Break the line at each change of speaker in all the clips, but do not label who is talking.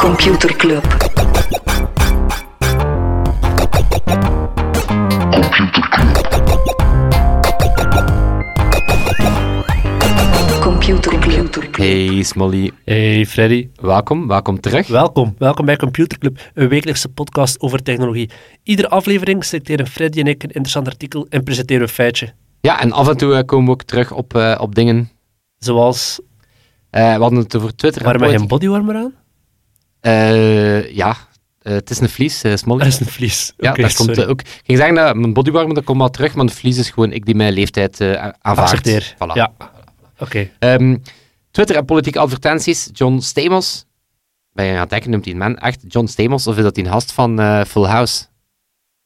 Computer Club. Computer Club. Computer Club.
Hey Smolly,
Hey Freddy,
welkom, welkom terug.
welkom. Welkom bij Computer Club, een wekelijkse podcast over technologie. Iedere aflevering selecteren Freddy en ik een interessant artikel en presenteren een feitje.
Ja, en af en toe eh, komen we ook terug op, eh, op dingen.
Zoals,
Eh, we hadden het over Twitter. en
waarom heb je een
politiek.
bodywarmer aan?
Eh, ja, eh, het is een vlies, eh, Smolly.
Dat is een vlies.
ja,
Oké,
daar komt
sorry.
eh, ook. Ik ging zeggen dat mijn bodywarmer, dat komt wel terug, maar een vlies is gewoon ik die mijn leeftijd eh, a- aanvaardt.
Accepteer.
Voilà.
Ja. Oké.
Ehm, Twitter en politieke advertenties. John Stamos. Ben je aan het denken, noemt hij een man echt John Stamos? Of is dat die een gast van eh, Full House?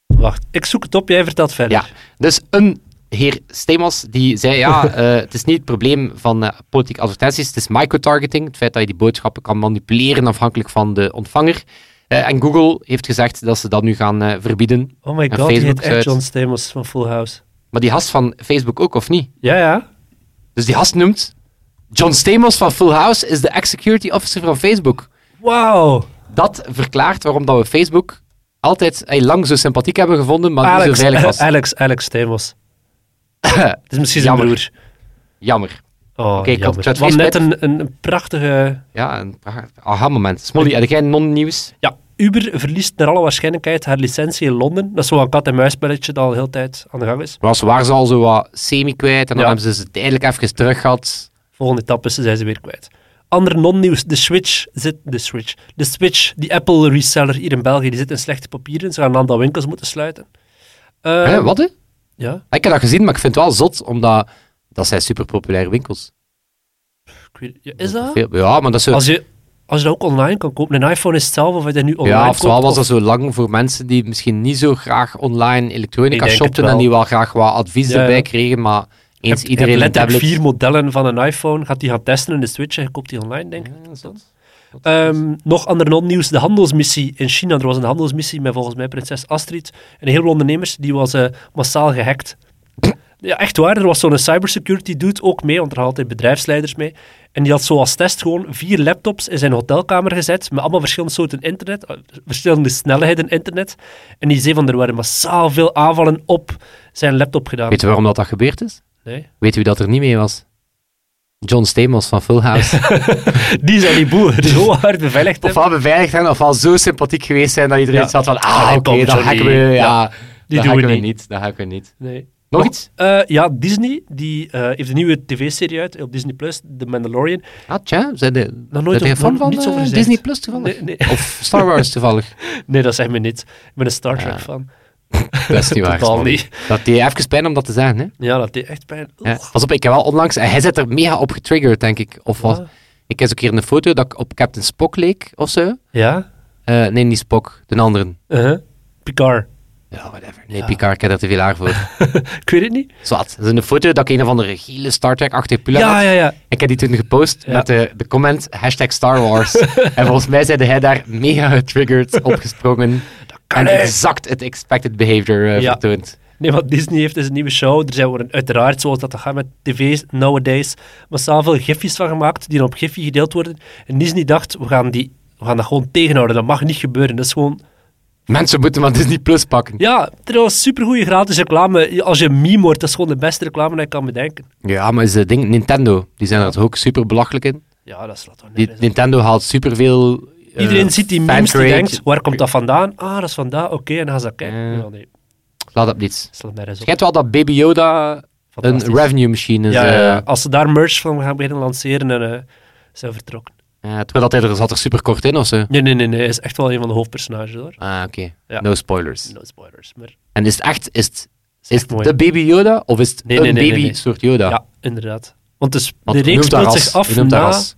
Wacht, ik zoek het op, jij vertelt verder.
Ja, dus een heer Stemos die zei, ja, eh, het is niet het probleem van eh, politieke advertenties, het is microtargeting, het feit dat je die boodschappen kan manipuleren afhankelijk van de ontvanger. Eh, en Google heeft gezegd dat ze dat nu gaan eh, verbieden.
Oh my
En
god, die heet
Facebook
echt
uit.
John Stamos van Full House.
Maar die gast van Facebook ook, of niet?
Ja, ja.
Dus die gast noemt John Stamos van Full House is de ex-security officer van Facebook.
Wauw.
Dat verklaart waarom dat we Facebook altijd eh, lang zo sympathiek hebben gevonden, maar niet
Alex,
zo veilig was.
Alex, Alex Stamos. Het is misschien zijn
Jammer.
broer.
Jammer.
Oh,
Oké, ik had
jammer.
het
Het was net
Facebook.
een, een, een prachtige
Ja, een aha-moment. Smolly, heb jij non-nieuws?
Ja, Uber verliest naar alle waarschijnlijkheid haar licentie in Londen. Dat is zo'n kat-en-muisspelletje dat al heel de tijd aan de gang is.
Was, waar ze al zo wat semi kwijt en dan
Ja.
hebben ze ze tijdelijk even terug gehad.
Volgende etappe is, zijn ze weer kwijt. Ander non-nieuws, de Switch zit... De Switch. De Switch, die Apple reseller hier in België, die zit in slechte papieren. Ze gaan een aantal winkels moeten sluiten. Eh,
Hè, wat hè?
Ja,
Ah, Ik heb dat gezien, maar ik vind het wel zot, omdat dat zijn super populaire winkels.
ik weet- ja, is dat?
Veel- ja, maar dat is zo,
Als je, als je dat ook online kan kopen. Een iPhone is hetzelfde of je dat nu online
ja,
koopt.
oftewel was
of-
dat zo lang voor mensen die misschien niet zo graag online elektronica
Ik denk
shopten
het
en
wel.
die wel graag wat advies
Ja,
erbij
ja.
kregen, maar
Je
eens
hebt- je hebt
iedereen een
letterlijk
tablet...
vier modellen van een iPhone. Gaat die gaan testen in de Switch en je koopt die online, denk ik.
Ja, zot.
Ehm, nog ander non-nieuws, de handelsmissie in China. Er was een handelsmissie met volgens mij prinses Astrid. En een heleboel ondernemers, die was eh, massaal gehackt. Ja, echt waar. Er was zo'n cybersecurity dude ook mee, want er hadden altijd bedrijfsleiders mee. En die had zo als test gewoon vier laptops in zijn hotelkamer gezet, met allemaal verschillende soorten internet, eh, verschillende snelheden internet. En die zei van, er waren massaal veel aanvallen op zijn laptop gedaan.
Weet je waarom dat, dat gebeurd is?
Nee.
Weet u wie dat er niet mee was? John Stamos van Full House.
Die zijn die boer dus- zo hard beveiligd. hebben.
ofwel beveiligd zijn, ofwel zo sympathiek geweest zijn dat iedereen
Ja.
zat van, ah,
Allee,
oké,
kom,
dat
Johnny.
hakken we,
Ja.
ja,
Die
dat
doen we
hakken we
niet.
niet, dat hakken we niet.
Nee.
Nog iets?
Eh, ja, Disney die, eh, heeft een nieuwe tv-serie uit op Disney+, Plus, The Mandalorian.
Ah, tja, zijn de,
Nog nooit
zijn
over-
er fan
nog
van
niets
eh,
over gezegd.
Disney Plus toevallig?
Nee, nee.
Of Star Wars toevallig?
nee, dat zegt me niet. Ik ben een Star Trek
Ja.
fan.
Dat is niet waar.
Totaal
Smolly.
niet.
Dat die even pijn om dat te zeggen, hè?
Ja, dat deed echt pijn.
Ja.
Oeh.
Pas op, ik heb wel onlangs... en Hij zit er mega op getriggerd, denk ik. Of wat?
Ja?
Ik heb eens een keer een foto dat ik op Captain Spock leek, of zo.
Ja?
Eh, nee, niet Spock, de andere.
Uh-huh. Picard.
Ja, whatever. Nee,
Ja.
Picard, ik heb daar te veel haar voor.
Ik weet het niet.
Zwat. Dat is een foto dat ik een of andere gele Star Trek-achtige pula had.
Ja, ja, ja.
Ik heb die toen gepost
Ja.
met de, de comment hashtag Star Wars. en volgens mij zeide hij daar mega getriggerd opgesprongen.
kan
en
niet.
exact het expected behavior eh,
Ja.
vertoond.
Nee, want Disney heeft dus een nieuwe show. Er zijn worden uiteraard, zoals dat gaat met tv's nowadays, massaal veel gifjes van gemaakt, die dan op gifje gedeeld worden. En Disney dacht, we gaan, die, we gaan dat gewoon tegenhouden. Dat mag niet gebeuren. Dat is gewoon
Mensen moeten maar Disney Plus pakken.
Ja, trouwens, supergoeie gratis reclame. Als je meme wordt, dat is gewoon de beste reclame die ik kan bedenken.
Ja, maar is het ding, Nintendo, die zijn er ook super belachelijk in.
Ja, dat slaat toch
Die,
nergens op.
Nintendo haalt superveel... eh,
Iedereen ziet die memes die
fancreate.
denkt, waar komt dat vandaan? Ah, dat is vandaan, oké, en dan gaan ze dat kijken.
Ja.
Ja, nee,
Laat dat niets.
slaat nergens
Je
op.
hebt wel dat Baby Yoda een
Fantastisch.
revenue machine is.
Ja, ja, ja.
eh,
als ze daar merch van gaan beginnen lanceren, en eh, zijn we vertrokken.
eh, terwijl dat hij er zat er super kort in of zo.
Nee, nee, nee, nee, hij is echt wel een van de hoofdpersonages hoor.
Ah, oké.
Ja.
No spoilers.
No spoilers, maar
En is het echt, is het,
is
is
echt
het
mooi.
de Baby Yoda of is het
Nee,
een
nee, nee,
baby
nee, nee.
soort Yoda?
Ja, inderdaad. Want dus,
Want
de
je
reeks
noemt dat
speelt
ras,
zich af
je noemt dat
na...
ras.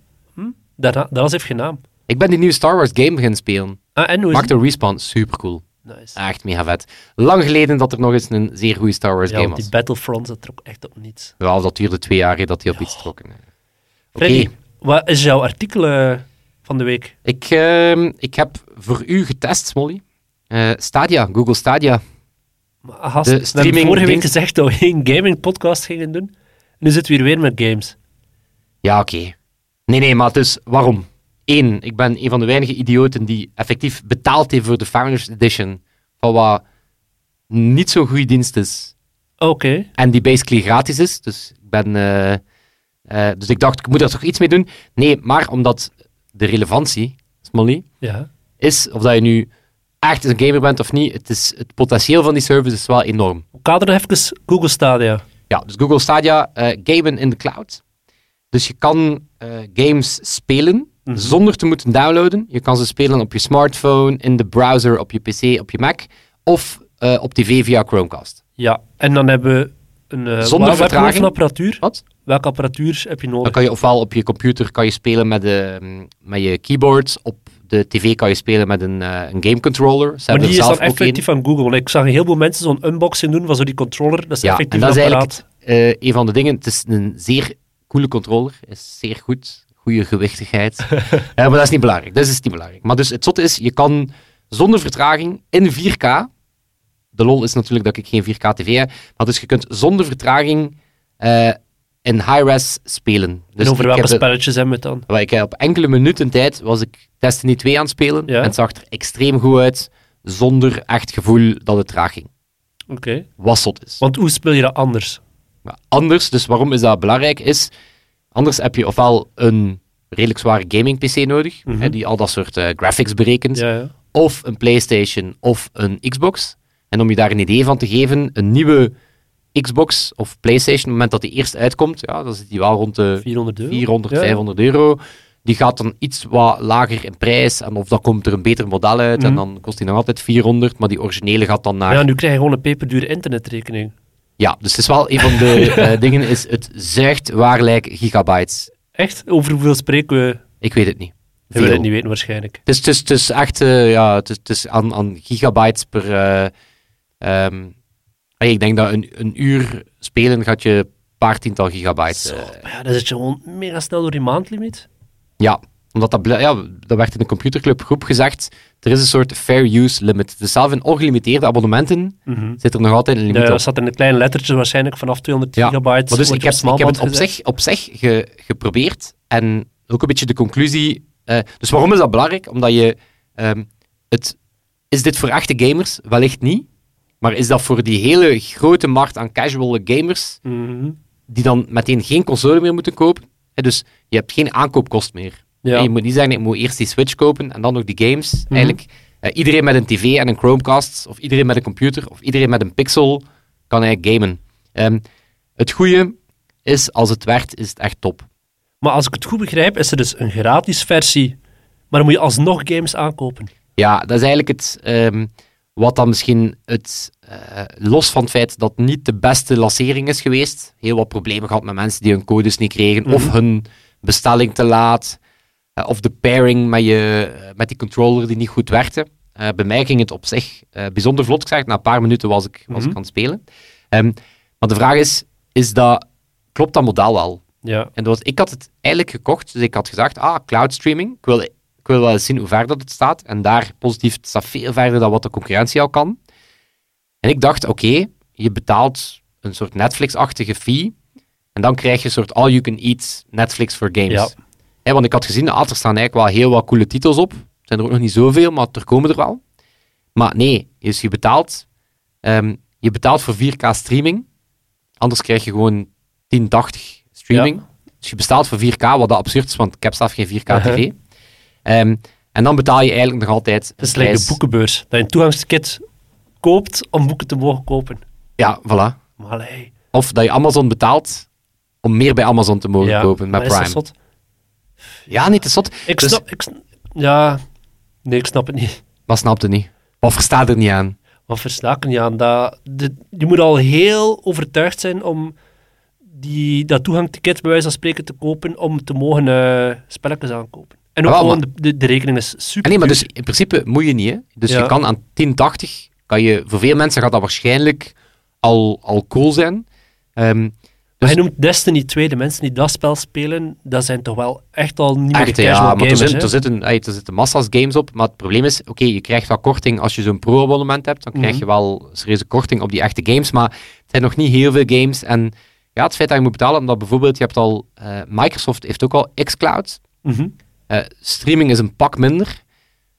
Daarna, dat heeft geen naam.
Ik ben die nieuwe Star Wars game gaan spelen.
Ah, en hoe is
Maakt Ah,
het?
door Respawn super cool.
Nice.
Echt mega vet. Lang geleden dat er nog eens een zeer goede Star Wars
Ja,
game
want die
was.
Battlefront, dat trok echt op niets.
Wel, dat duurde twee jaar hè, dat die op iets trokken. Oké.
Freddy, wat is jouw artikel eh, van de week?
Ik, ehm, ik heb voor u getest, Smolly. Eh, Stadia, Google Stadia.
Maar ah,
De
Gast, we hebben
streaming
vorige week
dienst-
gezegd dat we geen gaming podcast gingen doen. Nu zitten we hier weer met games.
Ja, oké. Nee, nee, maar dus waarom? Eén, ik ben een van de weinige idioten die effectief betaald heeft voor de Founders Edition. Van wat niet zo'n goede dienst is.
Ah, Oké.
En die basically gratis is. Dus ik, ben, eh, eh, dus ik dacht, ik moet daar toch iets mee doen. Nee, maar omdat de relevantie, Smolly,
Ja.
is of dat je nu echt een gamer bent of niet, het, is, het potentieel van die service is wel enorm.
Kader nog even Google Stadia.
Ja, dus Google Stadia, eh, gamen in de cloud. Dus je kan eh, games spelen
Mhm.
zonder te moeten downloaden. Je kan ze spelen op je smartphone, in de browser, op je PC, op je Mac of eh, op tv via Chromecast.
Ja. En dan hebben we een... eh,
Zonder
waar- waar-
vertraging.
welke apparatuur?
Wat?
Welke apparatuur heb je nodig?
Dan kan je ofwel op je computer kan je spelen met, de, mm, met je keyboard, op de tv kan je spelen met een, eh, een game controller. Ze
Maar
hebben
die is
zelf
dan
ook één.
effectief van Google. Want ik zag heel veel mensen zo'n unboxing doen van zo die controller. Dat is
Ja, en
effectief
dat is
een
eigenlijk
apparaat.
eh, een van de dingen. Het is een zeer coole controller. Is zeer goed. Goede gewichtigheid. Eh, maar dat is niet belangrijk. Dat is niet belangrijk. Maar dus het zotte is, je kan zonder vertraging in 4K. De lol is natuurlijk dat ik geen 4K TV heb. Maar dus je kunt zonder vertraging eh, in high-res spelen. Dus
en over
ik
welke
heb het-
spelletjes hebben we het dan?
wel, ik heb op enkele minuten tijd was ik Destiny 2 aan het spelen.
Ja.
En het zag er extreem goed uit. Zonder echt gevoel dat het traag ging.
Oké.
Wat zot is.
Want hoe speel je dat anders?
Maar anders, dus waarom is dat belangrijk, is... Anders heb je ofwel een redelijk zware gaming-pc nodig, hè, die al dat soort eh, graphics berekent,
Mhm. Ja, ja.
of een PlayStation of een Xbox. En om je daar een idee van te geven, een nieuwe Xbox of PlayStation, op het moment dat die eerst uitkomt, ja, dan zit die wel rond de
400 euro.
400,
Ja.
500 euro. Die gaat dan iets wat lager in prijs, en of dan komt er een beter model uit, en dan kost die nog altijd 400, maar die originele gaat dan naar...
Mhm. Ja, nu krijg je gewoon een peperdure internetrekening.
Ja, dus het is wel een van de eh, dingen, is het zuigt waarlijk gigabytes.
Echt? Over hoeveel spreken we?
Ik weet het niet.
We willen
Veel.
het niet weten waarschijnlijk.
Het is, het is, het is echt eh, ja, het is, het is aan, aan gigabytes per... eh, ehm, hey, ik denk dat een, een uur spelen gaat je een paar tiental gigabytes. eh,
Maar Ja, dan zit je gewoon mega snel door die maandlimiet.
ja, omdat dat, bl- ja, dat werd in de computerclub groep gezegd. Er is een soort fair use limit. Dus zelf in ongelimiteerde abonnementen zit er nog altijd een
Mhm. Ja,
limiet op.
Eh, dat zat in een klein lettertje waarschijnlijk vanaf 200
Ja,
gigabyte.
Maar dus ik
wordt
heb,
op
ik heb
smaalband
het op
gezet.
zich, op zich ge- geprobeerd. En ook een beetje de conclusie. eh, dus waarom is dat belangrijk? Omdat je. ehm, het, is dit voor echte gamers? Wellicht niet. Maar is dat voor die hele grote markt aan casual gamers.
Mhm.
die dan meteen geen console meer moeten kopen? Hè, dus je hebt geen aankoopkost meer.
Ja.
Hè, Je moet niet zeggen, ik moet eerst die Switch kopen en dan nog die games. Eigenlijk, eh, iedereen met een tv en een Chromecast, of iedereen met een computer, of iedereen met een Pixel, kan eigenlijk gamen. Ehm, het goede is, als het werkt, is het echt top.
Maar als ik het goed begrijp, is er dus een gratis versie. Maar dan moet je alsnog games aankopen.
Ja, dat is eigenlijk het, ehm, wat dan misschien het, eh, los van het feit dat het niet de beste lancering is geweest, heel wat problemen gehad met mensen die hun codes niet kregen, of hun bestelling te laat, eh, of de pairing met, je, eh, met die controller die niet goed werkte. Eh, bij mij ging het op zich eh, bijzonder vlot, ik zeg, na een paar minuten was ik, was ik aan het spelen. Ehm, maar de vraag is, is dat, klopt dat model wel?
Ja.
En dat was, ik had het eigenlijk gekocht, dus ik had gezegd, ah, cloud streaming, ik wil, ik wil wel eens zien hoe ver dat het staat. En daar positief het staat veel verder dan wat de concurrentie al kan. En ik dacht, oké, je betaalt een soort Netflix-achtige fee. En dan krijg je een soort all-you-can-eat Netflix voor games.
Ja.
Hè, want ik had gezien, ah, er staan eigenlijk wel heel wat coole titels op. Er zijn er ook nog niet zoveel, maar er komen er wel. Maar nee, dus je betaalt, ehm, je betaalt voor 4K streaming. Anders krijg je gewoon 1080 streaming. Dus je betaalt voor 4K, wat dat absurd is, want ik heb zelf geen 4K tv.
Uh-huh.
Ehm, en dan betaal je eigenlijk nog altijd
Dat is
een
like de
prijs.
boekenbeurs. Dat je een toegangsticket koopt om boeken te mogen kopen.
Ja, voilà.
Maar hey,
Of dat je Amazon betaalt om meer bij Amazon te mogen
ja.
kopen met
maar is dat
Prime.
zot?
Ja, niet te zot.
Ik
Dus-
snap... Ik, sn- ja... Nee, ik snap het niet.
Wat snapt het niet? Wat verstaat er niet aan?
Wat versta ik er niet aan? Dat, de- je moet al heel overtuigd zijn om die, dat toegangticket bij wijze van spreken te kopen om te mogen eh, spelletjes aankopen. En ook
Ah, wel,
gewoon, de, de, de rekening is super
En nee, maar dus in principe moet je niet. Hè? Dus
Ja.
je kan aan 1080, kan je, voor veel mensen gaat dat waarschijnlijk al, al cool zijn. Ehm, dus
Hij noemt Destiny 2, de mensen die dat spel spelen, dat zijn toch wel echt al niet meer de
echt,
casual
ja, maar er
gamers,
zitten,
hè?
er, zitten, ey, er zitten massa's games op. Maar het probleem is, oké, je krijgt wel korting als je zo'n pro-abonnement hebt. Dan krijg je wel serieuze korting op die echte games. Maar het zijn nog niet heel veel games. En ja, het feit dat je moet betalen, omdat bijvoorbeeld je hebt al, eh, Microsoft heeft ook al xCloud.
Mhm.
Eh, streaming is een pak minder,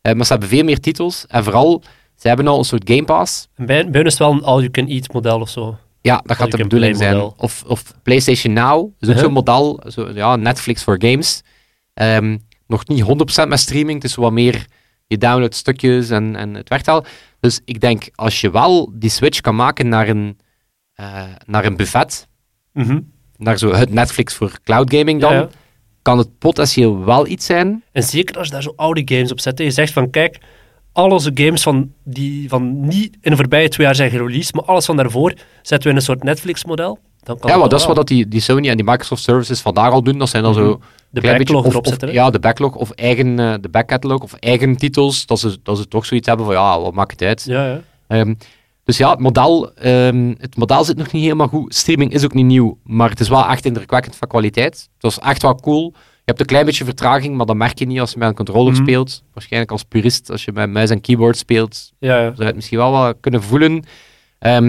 eh, maar ze hebben veel meer titels. En vooral, ze hebben al een soort Game Pass.
En bij, bij hun is het wel een all-you-can-eat model of zo.
Ja, dat gaat
All-you-can-play
de bedoeling zijn.
model.
Of, of PlayStation Now, is ook
Uh-huh.
zo'n model. Zo, ja, Netflix voor games. Ehm, nog niet 100% met streaming, het is wat meer je downloadt stukjes en, en het werkt al. Dus ik denk, als je wel die switch kan maken naar een, eh, naar een buffet, Mhm. naar zo het Netflix voor cloud gaming dan,
Ja, ja.
kan het potentieel wel iets zijn.
En zeker als je daar zo oude games op zet. hè. Je zegt van, kijk, al onze games van die van niet in de voorbije twee jaar zijn gereleased, maar alles van daarvoor zetten we in een soort Netflix-model. Dan kan
ja,
het
want dat is
wel.
wat dat die, die Sony en die Microsoft services vandaag al doen. Dat zijn dan zo...
Mhm. De
klein beetje
backlog
of-
erop
of-
zetten, hè?
Ja, de backlog of eigen, eh, de backcatalog of eigen titels. Dat ze, dat ze toch zoiets hebben van, ja, wat maakt het uit.
Ja, ja.
Ehm, dus ja, het model, ehm, het model zit nog niet helemaal goed. Streaming is ook niet nieuw, maar het is wel echt indrukwekkend van kwaliteit. Het was echt wel cool. Je hebt een klein beetje vertraging, maar dat merk je niet als je met een controller
Mhm.
speelt. Waarschijnlijk als purist, als je met muis en keyboard speelt,
ja, ja.
zou je het misschien wel wat kunnen voelen. Ehm,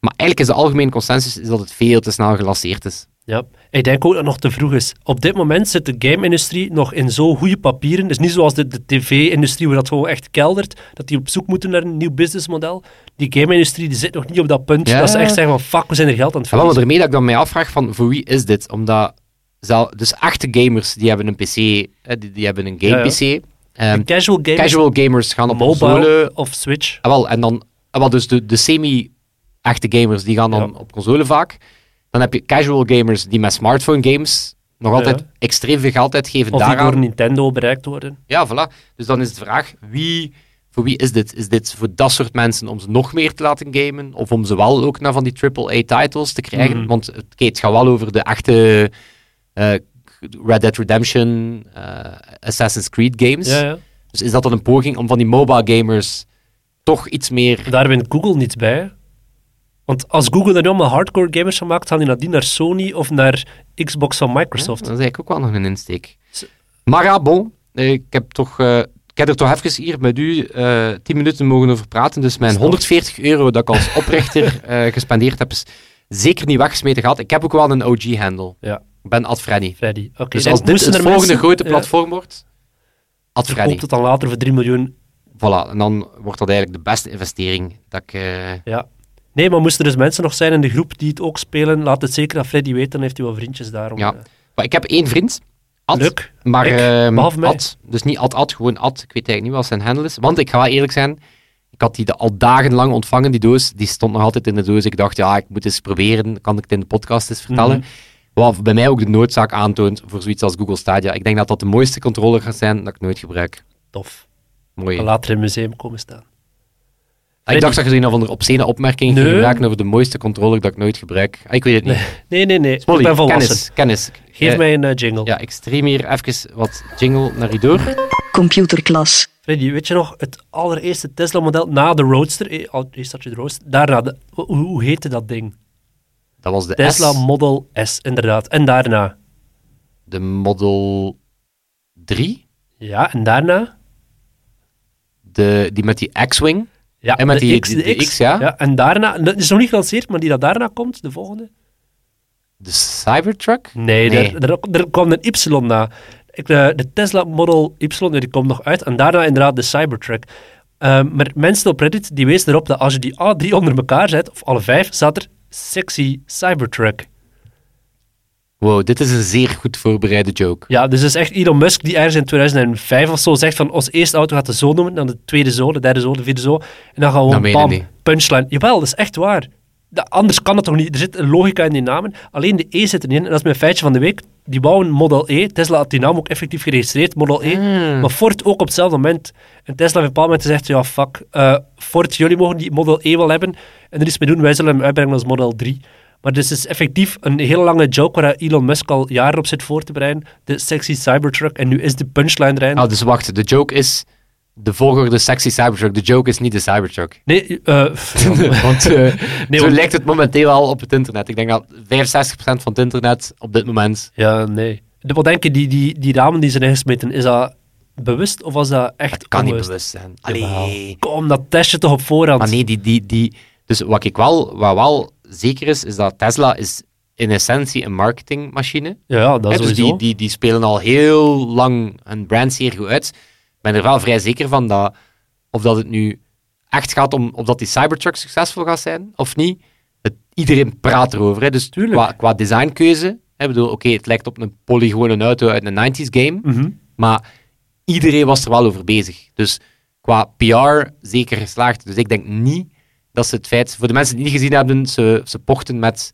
maar eigenlijk is de algemene consensus is dat het veel te snel gelanceerd is.
Ja, ik denk ook dat het nog te vroeg is. Op dit moment zit de game-industrie nog in zo goede papieren. Dus niet zoals de, de tv-industrie, waar dat gewoon echt keldert, dat die op zoek moeten naar een nieuw businessmodel. Die game-industrie die zit nog niet op dat punt
Ja.
dat ze echt zeggen van fuck, we zijn er geld aan het
Ja, wel, maar daarmee
verliezen.
dat ik dan mij afvraag van voor wie is dit? Omdat zelf, dus echte gamers die hebben een PC, eh, die, die hebben een game PC. Ehm,
De casual gamers,
casual gamers gaan op console.
mobile of Switch.
Ah, wel, en dan, ah, wel, dus de, de semi-echte gamers die gaan dan
Ja.
op console vaak. Dan heb je casual gamers die met smartphone games nog altijd
Ja.
extreem veel geld uitgeven
Of die
daaraan.
door Nintendo bereikt worden.
Ja, voilà. Dus dan is de vraag, wie, voor wie is dit? Is dit voor dat soort mensen om ze nog meer te laten gamen? Of om ze wel ook naar van die AAA-titles te krijgen?
Mhm.
Want het- oké, het gaat wel over de echte eh, Red Dead Redemption, eh, Assassin's Creed games.
Ja, ja.
Dus is dat dan een poging om van die mobile gamers toch iets meer...
Daar wint Google niets bij. hè. Want als Google er nu allemaal hardcore gamers van maakt, gaan die nadien naar Sony of naar Xbox van Microsoft.
Dat is eigenlijk ook wel nog een insteek.
Zo-
Maar ja, bon, eh, ik heb, toch, eh, ik heb er toch even hier met u eh 10 minuten mogen over praten. Dus mijn
Snap.
140 euro dat ik als oprichter eh, gespendeerd heb, is zeker niet weggesmeten gehad. Ik heb ook wel een OG-handle.
Ja.
Ik ben Adfreddy.
Freddy. Oké,
Dus
dan
als dit
moesten
het
er
volgende
mensen-
grote
Ja.
platform wordt, Adfreddy.
verkoopt het dan later voor 3 miljoen.
Voilà, en dan wordt dat eigenlijk de beste investering. Dat ik, eh,
Ja. Nee, maar moesten er dus mensen nog zijn in de groep die het ook spelen, laat het zeker aan Freddy weten, dan heeft hij wel vriendjes daarom.
Ja.
eh.
Maar ik heb één vriend, Ad.
Leuk.
Maar
Ik,
ehm,
behalve mij.
Ad, dus niet Ad Ad, gewoon Ad. Ik weet eigenlijk niet wat zijn handle is. Want ik ga wel eerlijk zijn, ik had die de- al dagenlang ontvangen, die doos. Die stond nog altijd in de doos. Ik dacht, ja, ik moet eens proberen. Kan ik het in de podcast eens vertellen?
Mhm.
Wat bij mij ook de noodzaak aantoont voor zoiets als Google Stadia. Ik denk dat dat de mooiste controller gaat zijn dat ik nooit gebruik.
Tof.
Mooi.
En later in het museum komen staan.
Ah, Ik dacht dat je zo'n of andere obscene opmerking ging
Nee.
maken over de mooiste controller dat ik nooit gebruik. Ah, ik weet het niet.
Nee, nee, nee.
Smolly,
ik ben volwassen.
kennis, kennis.
Geef
Eh,
mij een eh, jingle.
Ja, ik stream hier even wat jingle naar u door.
Computer Class.
Freddy, weet je nog het allereerste Tesla-model na de Roadster? eh, al- Eerst had je de Roadster. Daarna, de, hoe, hoe heette dat ding?
Dat was de
Tesla
S,
Model S, inderdaad. En daarna?
de Model 3,
Ja, en daarna?
de, die met die X-Wing.
Ja,
En met
de
die-
X,
die-
de
die X, ja.
En daarna, dat is nog niet gelanceerd, maar die dat daarna komt, de volgende?
De Cybertruck?
Nee,
Nee.
Er, er, er kwam een Y na. Ik, de, de Tesla Model Y, nee, die komt nog uit. En daarna inderdaad de Cybertruck. Ehm, maar mensen op Reddit die wezen erop dat als je die alle drie onder elkaar zet, of alle vijf, staat er sexy Cybertruck.
Wow, dit is een zeer goed voorbereide joke.
Ja, dus dat is echt Elon Musk die ergens in 2005 of zo zegt van ons eerste auto gaat de zo noemen, dan de tweede zo, de derde zo, de vierde zo. En dan gaan
Dat
we
meen
gewoon
je
bam,
niet.
punchline. Jawel, dat is echt waar. Da- anders kan het toch niet? Er zit een logica in die namen. Alleen de E zit erin. En dat is mijn feitje van de week. Die bouwen Model E. Tesla had die naam ook effectief geregistreerd, Model E. Maar Ford ook op hetzelfde moment. En Tesla heeft op een bepaald moment gezegd, ja fuck, eh, Ford, jullie mogen die Model E wel hebben. En er is mee doen, wij zullen hem uitbrengen als Model 3. Maar dit is effectief een hele lange joke waar Elon Musk al jaren op zit voor te bereiden. De sexy Cybertruck. En nu is de punchline erin.
Ah, dus wacht, de joke is de volgorde sexy Cybertruck. De joke is niet de Cybertruck.
Nee, eh, pff,
want eh,
Nee,
zo
want-
lijkt het momenteel al op het internet. Ik denk dat 65% van het internet op dit moment...
Ja, nee. De- Wat denk je, die, die, die ramen die zijn ingesmeten, is dat bewust of was dat echt
kan niet
onbewust?
bewust zijn.
Jawel.
Allee.
Kom, dat test je toch op voorhand.
Maar nee, die, die, die... Dus wat ik wel, wat wel zeker is, is dat Tesla is in essentie een marketingmachine.
Ja, dat
Hè,
is
dus
sowieso.
die, die, die spelen al heel lang een brand zeer goed uit. Ik ben er wel vrij zeker van dat, of dat het nu echt gaat om of dat die Cybertruck succesvol gaat zijn of niet. Het, iedereen praat erover. Hè. Dus
Tuurlijk.
qua, qua designkeuze, hè, ik bedoel, oké, het lijkt op een polygone auto uit een 90s game,
Mhm.
maar iedereen was er wel over bezig. Dus qua PR zeker geslaagd. Dus ik denk niet dat ze het feit, voor de mensen die het niet gezien hebben, ze, ze pochten met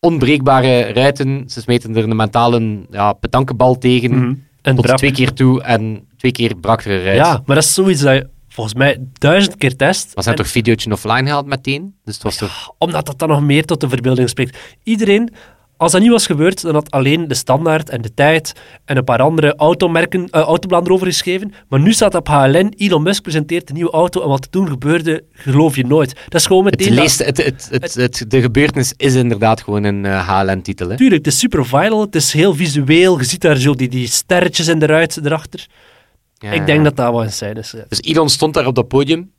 onbreekbare ruiten. Ze smeten er een mentale ja, petankenbal tegen.
Mhm. En
Tot
brap.
twee keer toe en twee keer brak er een ruit.
Ja, maar dat is zoiets dat je volgens mij duizend keer test.
Maar ze
en-
hebben toch videootje offline gehaald meteen? Dus het was toch...
Omdat dat dan nog meer tot de verbeelding spreekt. Iedereen, als dat niet was gebeurd, dan had alleen de standaard en de tijd en een paar andere automerken, eh, autobladen erover geschreven. Maar nu staat op HLN, Elon Musk presenteert de nieuwe auto en wat er toen gebeurde, geloof je nooit. Dat is gewoon
Het
meteen...
leest, het, het, het, het- de gebeurtenis is inderdaad gewoon een eh, HLN-titel. hè.
Tuurlijk, het is super viral, het is heel visueel. Je ziet daar zo die, die sterretjes en de ruiten erachter.
Ja,
Ik
ja.
denk dat dat wel een zijn is. ja.
Dus Elon stond daar op dat podium.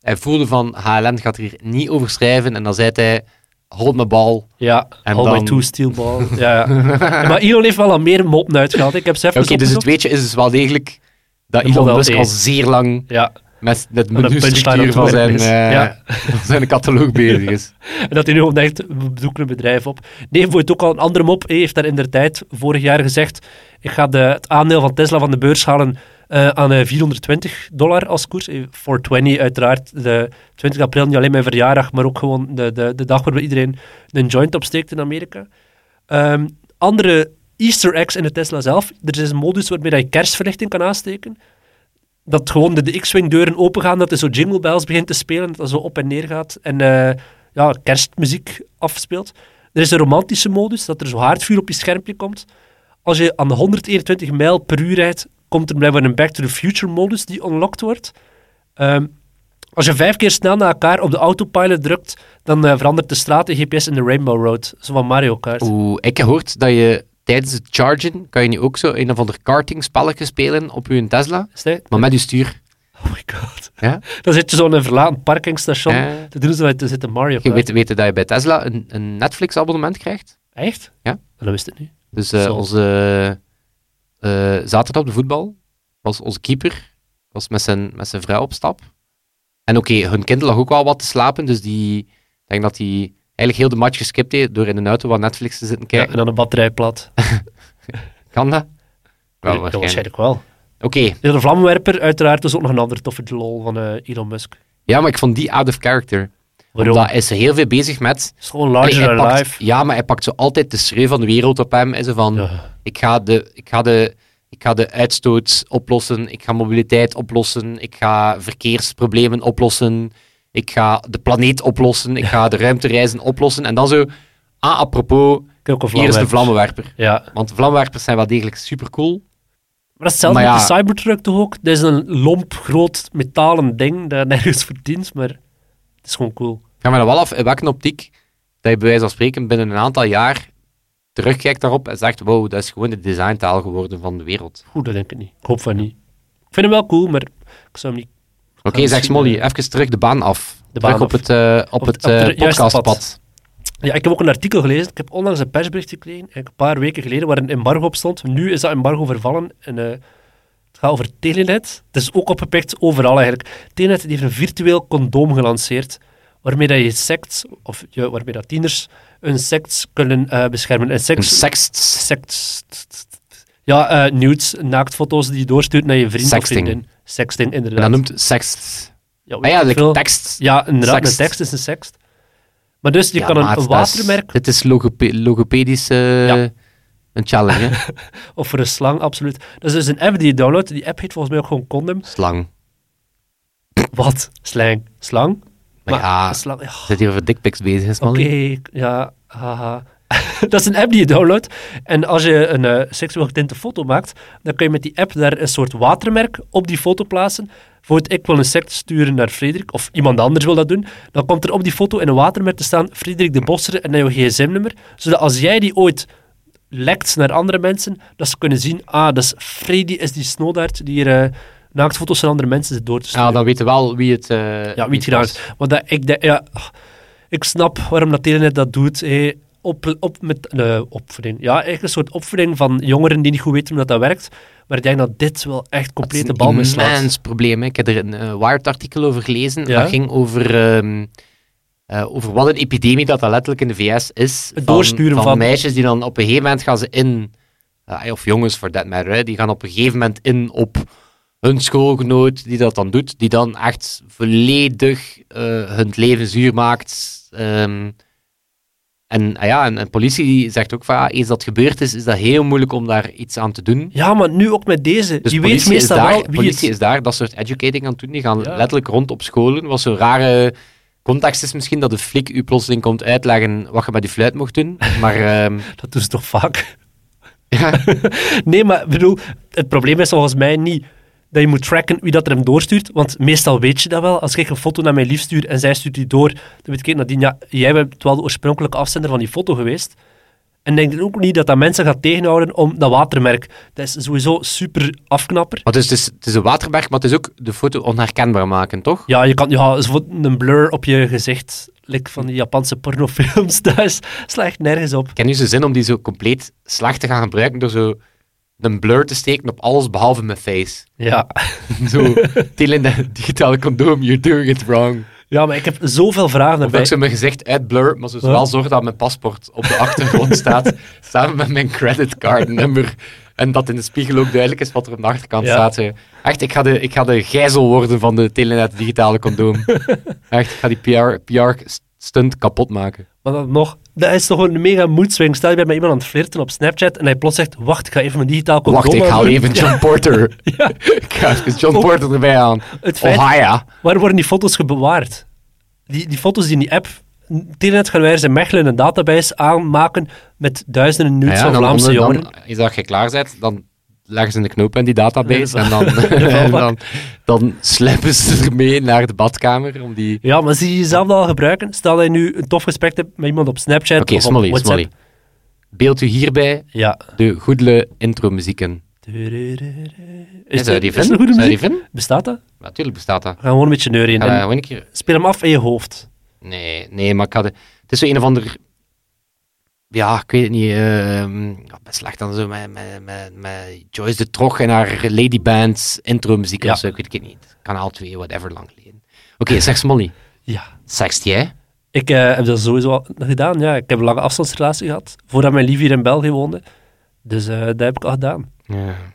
Hij voelde van, HLN gaat er hier niet over schrijven. En dan zei hij, hold my bal.
Ja,
En
all my
dan-
two steel balls. ja, ja. Maar Elon heeft wel al meer moppen uitgehaald. Ik heb ze
Oké,
even
dus het
opgezocht.
weetje is dus wel degelijk dat
Een
Elon
model
Musk
T.
al zeer lang
Ja,
met het
een punchline
menu-structuur
op
van
te
zijn,
werken is.
eh,
Ja.
van zijn catalogus bezig is.
En dat hij nu gewoon denkt, we doeken een bedrijf op. Nee, voor het ook al een andere mop. Hij heeft daar in der tijd, vorig jaar, gezegd... Ik ga de, het aandeel van Tesla van de beurs halen eh, aan eh, 420 dollar als koers. Eh, 420 uiteraard. De 20 april, niet alleen mijn verjaardag, maar ook gewoon de, de, de dag waarbij iedereen een joint opsteekt in Amerika. Ehm, andere easter eggs in de Tesla zelf. Er is een modus waarmee dat je kerstverlichting kan aansteken. Dat gewoon de, de X-Wing deuren opengaan, dat er zo jingle bells begint te spelen, dat dat zo op en neer gaat. En eh, ja, kerstmuziek afspeelt. Er is een romantische modus, dat er zo haardvuur op je schermpje komt. Als je aan de 121 mijl per uur rijdt, komt er blijkbaar een Back to the Future modus die unlocked wordt. Ehm, als je vijf keer snel naar elkaar op de autopilot drukt, dan eh, verandert de straat in GPS in de Rainbow Road. Zo van Mario Kart.
Oeh, ik heb gehoord dat je tijdens het chargen, kan je nu ook zo een of ander kartingspelletje spelen op je Tesla,
Is dat-
maar met je stuur.
Oh my god.
Ja?
Dan zit je zo in een verlaten parkingstation.
Ja.
Dan doen ze dat er zit een Mario
Je
Kart.
weet, weet dat je bij Tesla een, een Netflix-abonnement krijgt.
Echt?
Ja.
Dat wist ik niet.
Dus eh,
Zo.
onze eh, zaterdag op de voetbal was onze keeper, was met zijn, met zijn vrouw op stap. En oké, hun kind lag ook wel wat te slapen, dus die, ik denk dat die eigenlijk heel de match geskipt heeft door in een auto wat Netflix te zitten
Ja,
kijken.
en dan een batterij plat.
Kan dat? Wel
Ja,
waarschijnlijk.
waarschijnlijk wel.
Oké,
Ja, de vlammenwerper, uiteraard, was ook nog een ander toffe lol van eh, Elon Musk.
ja, maar ik vond die out of character.
Waarom?
Omdat is ze heel veel bezig met
Het is gewoon larger
Allee, hij
than
pakt-
life.
Ja, maar hij pakt zo altijd de schreeuw van de wereld op hem. En zo van,
Ja.
ik, ga de, ik, ga de, ik ga de uitstoot oplossen, ik ga mobiliteit oplossen, ik ga verkeersproblemen oplossen, ik ga de planeet oplossen, ik ga de ruimtereizen oplossen. En dan zo, ah, apropos,
Ik heb ook een
hier is de
vlammenwerper.
vlammenwerper.
Ja.
Want vlammenwerpers zijn wel degelijk supercool.
Maar dat is hetzelfde
Maar
met de
ja.
Cybertruck toch ook? Dat is een lomp, groot, metalen ding dat nergens voor dient, maar het is gewoon cool.
Ik ga me dan wel af in welke optiek dat je bij wijze van spreken binnen een aantal jaar terugkijkt daarop en zegt, wow, dat is gewoon de designtaal geworden van de wereld.
Goed, dat denk ik niet. Ik hoop van niet. Ik vind hem wel cool, maar ik zou hem niet...
Oké,
Gaan we
zeg
zien,
Smolly,
eh,
even terug de baan af.
de
terug
baan
op
af.
het, eh, op
Op
het
het- op
eh,
het juiste
podcastpad.
Ja, ik heb ook een artikel gelezen. Ik heb onlangs een persbericht gekregen, eigenlijk een paar weken geleden, waar een embargo op stond. Nu is dat embargo vervallen en eh, het gaat over Telenet. Het is ook opgepikt overal eigenlijk. Telenet die heeft een virtueel condoom gelanceerd, waarmee dat je sects, of je, waarmee dat tieners hun sects kunnen eh, beschermen. En
Een
sects...
sext.
Seks. Ja, eh nudes, naaktfoto's die je doorstuurt naar je vriend
Sexting.
of vriendin. Sexting,
En
inderdaad.
dat noemt sext.
ja, weet
Ah ja,
ik
like
veel.
tekst.
Ja, inderdaad,
Sext.
een tekst is een sext. Maar dus, je
Ja,
kan een,
maat,
een
dat is-
watermerk,
Dit is logope- logopedisch eh,
Ja.
een challenge, hè?
of voor een slang, absoluut. Dat is dus een app die je downloadt. Die app heet volgens mij ook gewoon Condom.
Slang.
Wat? Slang. Slang?
Maar ja,
een slang. ja,
Zit hier over dickpics bezig, hè,
Oké,
Smolly?
ik- ja, haha. dat is een app die je downloadt. En als je een eh, seksueel getinte foto maakt, dan kun je met die app daar een soort watermerk op die foto plaatsen. Bijvoorbeeld, ik wil een sect sturen naar Frederik, of iemand anders wil dat doen. Dan komt er op die foto in een watermerk te staan Frederik de Bosser en dan jouw gsm-nummer. Zodat als jij die ooit lekt naar andere mensen, dat ze kunnen zien, ah, dat is Freddy, is die snoodaard die hier eh, naaktfoto's van andere mensen zit door te sturen.
Ja, Ah, dan weten we wel wie het... eh,
Ja, wie het
was.
gedaan heeft. Want dat, ik, denk- ja, ik snap waarom dat Telenet dat doet. hè. op, op met, eh, opvoeding. Ja, eigenlijk een soort opvoeding van jongeren die niet goed weten hoe dat, dat werkt. Maar ik denk dat dit wel echt complete bal
Dat is een
mislaat.
immens probleem. hè. Ik heb er een eh, Wired-artikel over gelezen.
Ja?
Dat ging over, ehm, eh, over wat een epidemie dat, dat letterlijk in de VS is.
Het doorsturen van-
meisjes die dan op een gegeven moment gaan ze in... eh, of jongens, voor dat matter. hè, die gaan op een gegeven moment in op hun schoolgenoot die dat dan doet. Die dan echt volledig eh, hun leven zuur maakt. ehm, en, ah ja, en, en politie die zegt ook van, ja, eens dat gebeurd is, is dat heel moeilijk om daar iets aan te doen.
Ja, maar nu ook met deze.
Dus
je weet
politie,
meestal
is daar,
wel wie
politie
het...
is daar dat soort educating aan het doen. Die gaan
Ja.
letterlijk rond op scholen. Wat zo'n rare context is misschien dat de flik u plotseling komt uitleggen wat je met die fluit mocht doen. Maar ehm,
Dat doen ze toch vaak?
ja,
Nee, maar ik bedoel, het probleem is volgens mij niet dat je moet tracken wie dat er hem doorstuurt. Want meestal weet je dat wel. Als ik een foto naar mijn lief stuur en zij stuurt die door, dan weet ik nadien, ja, jij bent wel de oorspronkelijke afzender van die foto geweest. En denk dan ook niet dat dat mensen gaat tegenhouden om dat watermerk. Dat is sowieso super afknapper.
maar het, is, het, is, het is een waterberg, maar het is ook de foto onherkenbaar maken, toch?
Ja, je kan ja, is wat een blur op je gezicht, like van die Japanse pornofilms, dat is slecht nergens op.
Ik heb nu zo'n zin om die zo compleet slecht te gaan gebruiken door zo een blur te steken op alles behalve mijn face.
Ja.
Zo, til in de digitale condoom, you're doing it wrong.
ja, maar ik heb zoveel vragen
Of ik
daarbij.
zo mijn gezicht uitblur, maar zo
Huh?
wel zorg dat mijn paspoort op de achtergrond staat, samen met mijn creditcardnummer. En dat in de spiegel ook duidelijk is wat er op de achterkant
Ja.
staat. hè. Echt, ik ga, de, ik ga de gijzel worden van de Telenet digitale condoom. Echt, ik ga die PR, PR-stunt kapot maken.
Maar dan nog, dat is toch een mega moedswing. Stel je bent met iemand aan het flirten op Snapchat en hij plots zegt, wacht, ik ga even mijn digitaal condoom
Wacht, ik haal
aandoen."
even John Porter.
Ja,
Ik ga even John Porter erbij aan.
het feit,
Oh, ja.
waar worden die foto's gebewaard? Die, die foto's die in die app... Telenet gaan wij zijn Mechelen een database aanmaken met duizenden nudes
Ja,
van
dan
Vlaamse
onder-
jongeren.
Dan, is dat je klaar bent, dan leggen ze een knoop in die database
Nee,
en,
dat
dan,
is wel-
en dan, dan sleppen ze ermee naar de badkamer om die...
Ja, maar zie je jezelf dat al gebruiken? Stel dat je nu een tof gesprek hebt met iemand op Snapchat
Oké,
of op
Smolly,
WhatsApp.
Smolly. Beeld u hierbij
Ja.
de goedele intromuzieken.
Is
zou je
dat
die
is
vinden?
dat goede
Zou je die
muziek?
vinden?
Bestaat dat?
Ja, Natuurlijk bestaat dat.
We gaan gewoon een beetje neuren.
Ga
en
dat gewoon een keer...
Speel hem af in je hoofd.
Nee, nee, maar ik had... Het is zo een of ander... Ja, ik weet het niet. ehm, ja, best slecht dan zo met, met, met, met Joyce de Trog en haar ladyband intromuziek
Ja.
of zo. Ik weet het niet. Kanaal 2, whatever, lang geleden. Oké, zeg Smolly.
Ja.
Sekst jij?
Ik eh, heb dat sowieso al gedaan. Ja, ik heb een lange afstandsrelatie gehad. Voordat mijn lief hier in België woonde. Dus eh, dat heb ik al gedaan.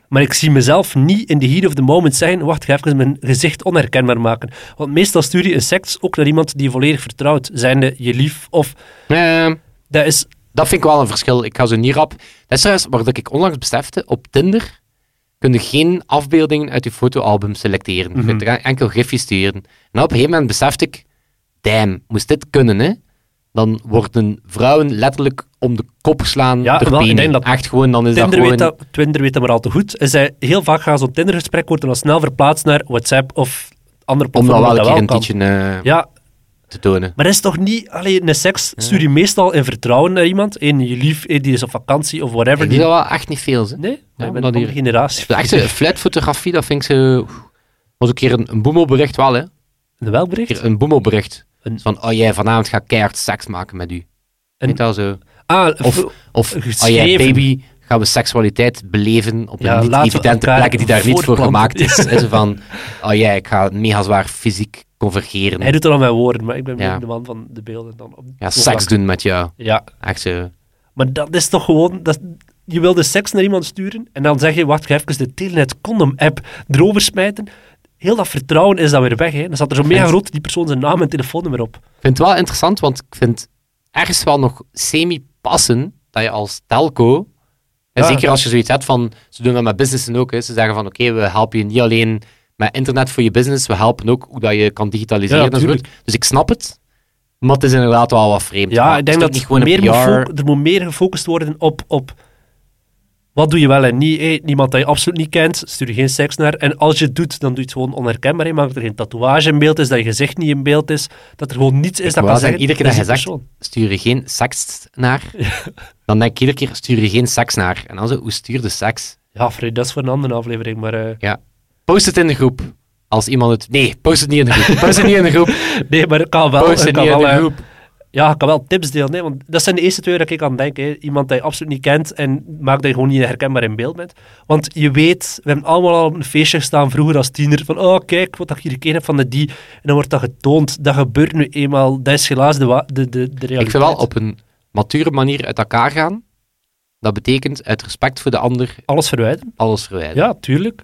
Maar ik zie mezelf niet in de heat of the moment zeggen... Wacht, ik ga even mijn gezicht onherkenbaar maken. Want meestal stuur je een seks ook naar iemand die je volledig vertrouwt. Zijnde je lief of...
Ehm,
Dat is...
dat vind ik wel een verschil. Ik ga zo niet rap. Dat is trouwens wat ik onlangs besefte. Op Tinder kun je geen afbeeldingen uit je fotoalbum selecteren. Je
Mhm.
kunt er enkel gifjes sturen. En op een gegeven moment besefte ik... Damn, moest dit kunnen, hè? Dan worden vrouwen letterlijk om de kop geslaan
Ja,
door
wel, ik
penen.
denk dat
Echt gewoon, dan is
Tinder,
dat
weet
gewoon...
dat, Tinder weet dat maar al te goed. En zij, heel vaak gaan zo'n Tinder-gesprek worden dan snel verplaatst naar WhatsApp of andere
Om dat
platformen.
wel een
waar
keer een
kan.
tietje eh,
Ja,
te tonen.
Maar dat is toch niet alleen een seks? Stuur je meestal in vertrouwen naar iemand? Een je lief, één die is op vakantie of whatever.
Ik
Die...
doe dat wel echt niet veel, hè.
Nee, maar ik ben
omdat
een
hier-
generatie.
De echte flatfotografie, dat vind ik zo... Was ook hier een, een boemelbericht wel, hè.
Een welbericht?
Hier een boemelbericht.
Een-
Van, oh jij, vanavond ga ik keihard seks maken met u.
Een-
Weet dat zo?
Ah,
Of,
v-
of oh
geschreven.
jij, baby, gaan we seksualiteit beleven op
Ja,
een
laten we
niet-evidente
elkaar
plek die daar niet voor
voortplanten.
gemaakt is. En zo van, oh jij, ik ga mega zwaar fysiek convergeren.
Hij doet het al met woorden, maar ik ben
Ja.
meer de man van de beelden dan. Op
ja,
op
seks
vlak.
doen met jou.
Ja,
Echt zo.
maar dat is toch gewoon... Dat... Je wil de seks naar iemand sturen en dan zeg je, wacht, ga even de Telenet-condom-app erover smijten. Heel dat vertrouwen is dan weer weg. Hè. Dan staat er zo mega
En-
groot die persoon zijn naam en telefoonnummer op.
Ik vind het wel interessant, want ik vind ergens wel nog semi-passen dat je als telco, en
Ja.
zeker als je zoiets hebt van, ze doen dat met businessen ook, hè, ze zeggen van oké, we helpen je niet alleen met internet voor je business, we helpen ook hoe dat je kan digitaliseren.
Ja,
enzovoort.
tuurlijk.
dus ik snap het, maar het is inderdaad wel wat vreemd.
Ja,
Maar
ik
het
denk
is
dat
toch niet gewoon
meer
een
moet
PR...
fo- er moet meer gefocust worden op, op wat doe je wel en niet. hè. Niemand dat je absoluut niet kent, stuur je geen seks naar. En als je het doet, dan doe je het gewoon onherkenbaar. hè. Maar dat er geen tatoeage in beeld is, dat je gezicht niet in beeld is, dat er gewoon niets is dat
Wel
kan
zeggen,
zeggen.
iedere keer
dat
dat je
is
zegt,
die persoon.
stuur je geen seks naar, dan denk ik iedere keer, stuur je geen seks naar. En dan zo, hoe stuur de seks?
Ja, Fred, dat is voor een andere aflevering, maar... eh,
Ja. Post het in de groep. Als iemand het... Nee, post het niet in de groep. Post het niet in de groep.
Nee, maar het kan wel.
Post
het
het
kan
niet in
wel
de
eh,
groep.
Ja, ik kan wel tips delen. Hè, want dat zijn de eerste twee dat ik aan denk. Hè. Iemand die je absoluut niet kent en maakt dat je gewoon niet herkenbaar in beeld bent. Want je weet, we hebben allemaal al op een feestje gestaan vroeger als tiener. Van, oh kijk, wat dat ik hier gekeken heb van de die. En dan wordt dat getoond. Dat gebeurt nu eenmaal. Dat is helaas de, wa- de, de, de realiteit.
Ik vind wel op een mature manier uit elkaar gaan. Dat betekent uit respect voor de ander
Alles verwijderen.
alles verwijderen.
Ja, tuurlijk.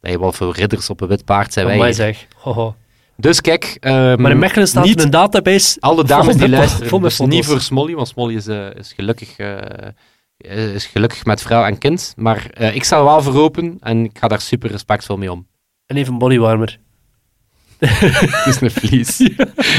Hey, wat voor ridders op een wit paard zijn eh, wij
Amai
hier.
zeg. Hoho.
Dus kijk, ehm,
Maar in Mechelen staat
niet
een database.
alle
vol
dames
met
die
fo-
luisteren,
vol met
dus niet
foto's.
voor Smolly, want Smolly is, eh, is, gelukkig, eh, eh, is gelukkig met vrouw en kind. Maar eh, ik sta er wel voor open en ik ga daar super respectvol mee om.
En even een bodywarmer.
Het is een vlies.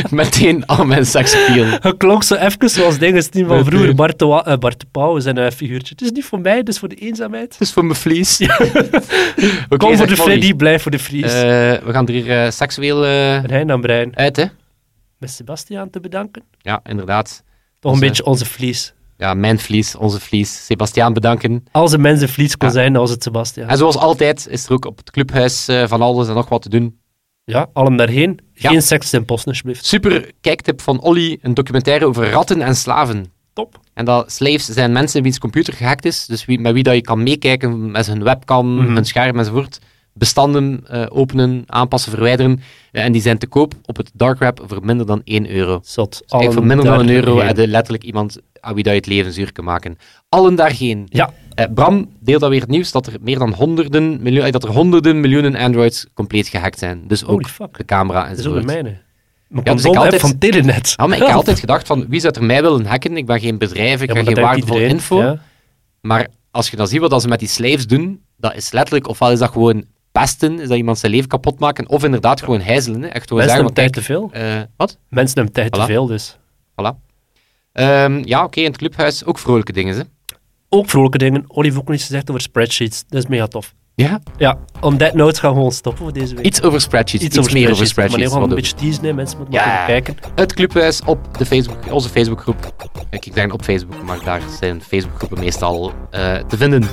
Meteen al mijn seksspiel.
Het klonk zo even zoals dingen die van
Met
vroeger.
die-
Bart de, Wa- eh, Bart de Pauw zijn een figuurtje. Het is niet voor mij, het is voor de eenzaamheid.
Het is voor mijn vlies. Oké,
Kom voor
zeg Molly.
de Freddy, blijf voor de Fries.
Eh, we gaan er hier eh, seksueel eh,
Rijn aan Brein.
uit, hè?
Met Sebastiaan te bedanken.
Ja, inderdaad.
Toch een
Onze-
beetje onze Fries.
Ja, mijn vlies, onze vlies. Sebastiaan bedanken.
Als een mens een Fries kon
Ja.
zijn, dan was het Sebastiaan.
En zoals altijd is er ook op het clubhuis eh, van alles en nog wat te doen.
Ja, allemaal daarheen.
Ja.
Geen seks in posten, alsjeblieft.
Super kijktip van Olly, een documentaire over ratten en slaven.
Top.
En dat slaves zijn mensen wiens computer gehackt is, dus wie, met wie dat je kan meekijken met hun webcam,
Mhm.
hun scherm enzovoort. Bestanden eh, openen, aanpassen, verwijderen. Eh, en die zijn te koop op het dark web voor minder dan 1 euro.
Zot.
Dus eigenlijk voor minder dan een
daarheen.
euro heb je letterlijk iemand aan wie dat je het leven zuur kan maken. Allen daarheen.
Ja,
Eh, Bram deelt alweer het nieuws dat er meer dan honderden miljoen, eh, dat er honderden miljoenen androids compleet gehackt zijn. Dus ook
holy fuck.
de camera
Dat is ook
enzovoort.
een mijne. Mijn
dus ik
controle
altijd-
van Telenet.
Ja, maar ik heb altijd gedacht van, wie zou er mij willen hacken? Ik ben geen bedrijf, ik
Ja, maar
heb
dat
geen
denkt
waardevolle
iedereen.
info.
Ja.
Maar als je dan ziet wat ze met die slaves doen, dat is letterlijk, ofwel is dat gewoon pesten, is dat iemand zijn leven kapot maken, of inderdaad gewoon hijzelen. Hè. Echt gewoon
Mensen
zeggen, want
hebben tijd
kijk,
te veel.
eh, wat?
Mensen hebben tijd te
Voilà.
veel, dus.
Voilà. Ehm, ja, oké, in het clubhuis ook vrolijke dingen, hè.
Ook vrolijke dingen. Olive heeft ook iets gezegd over spreadsheets. Dat is mega tof.
Ja,
Ja, on that note gaan we gewoon stoppen voor deze week.
iets over spreadsheets, iets, meer over
Maar nee,
spreadsheets.
we gaan
wat
een
ook.
beetje teasen, hè. mensen moeten
Ja.
maar even kijken.
Het clubhuis op de Facebook, onze Facebookgroep. Ik ik zeg op Facebook, maar daar zijn Facebookgroepen meestal eh, te vinden.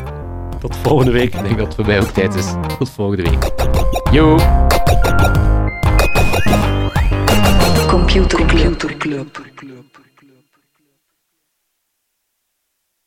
Tot volgende week.
Ik denk dat het voor mij ook tijd is. Tot volgende week. Yo!
Computer Club.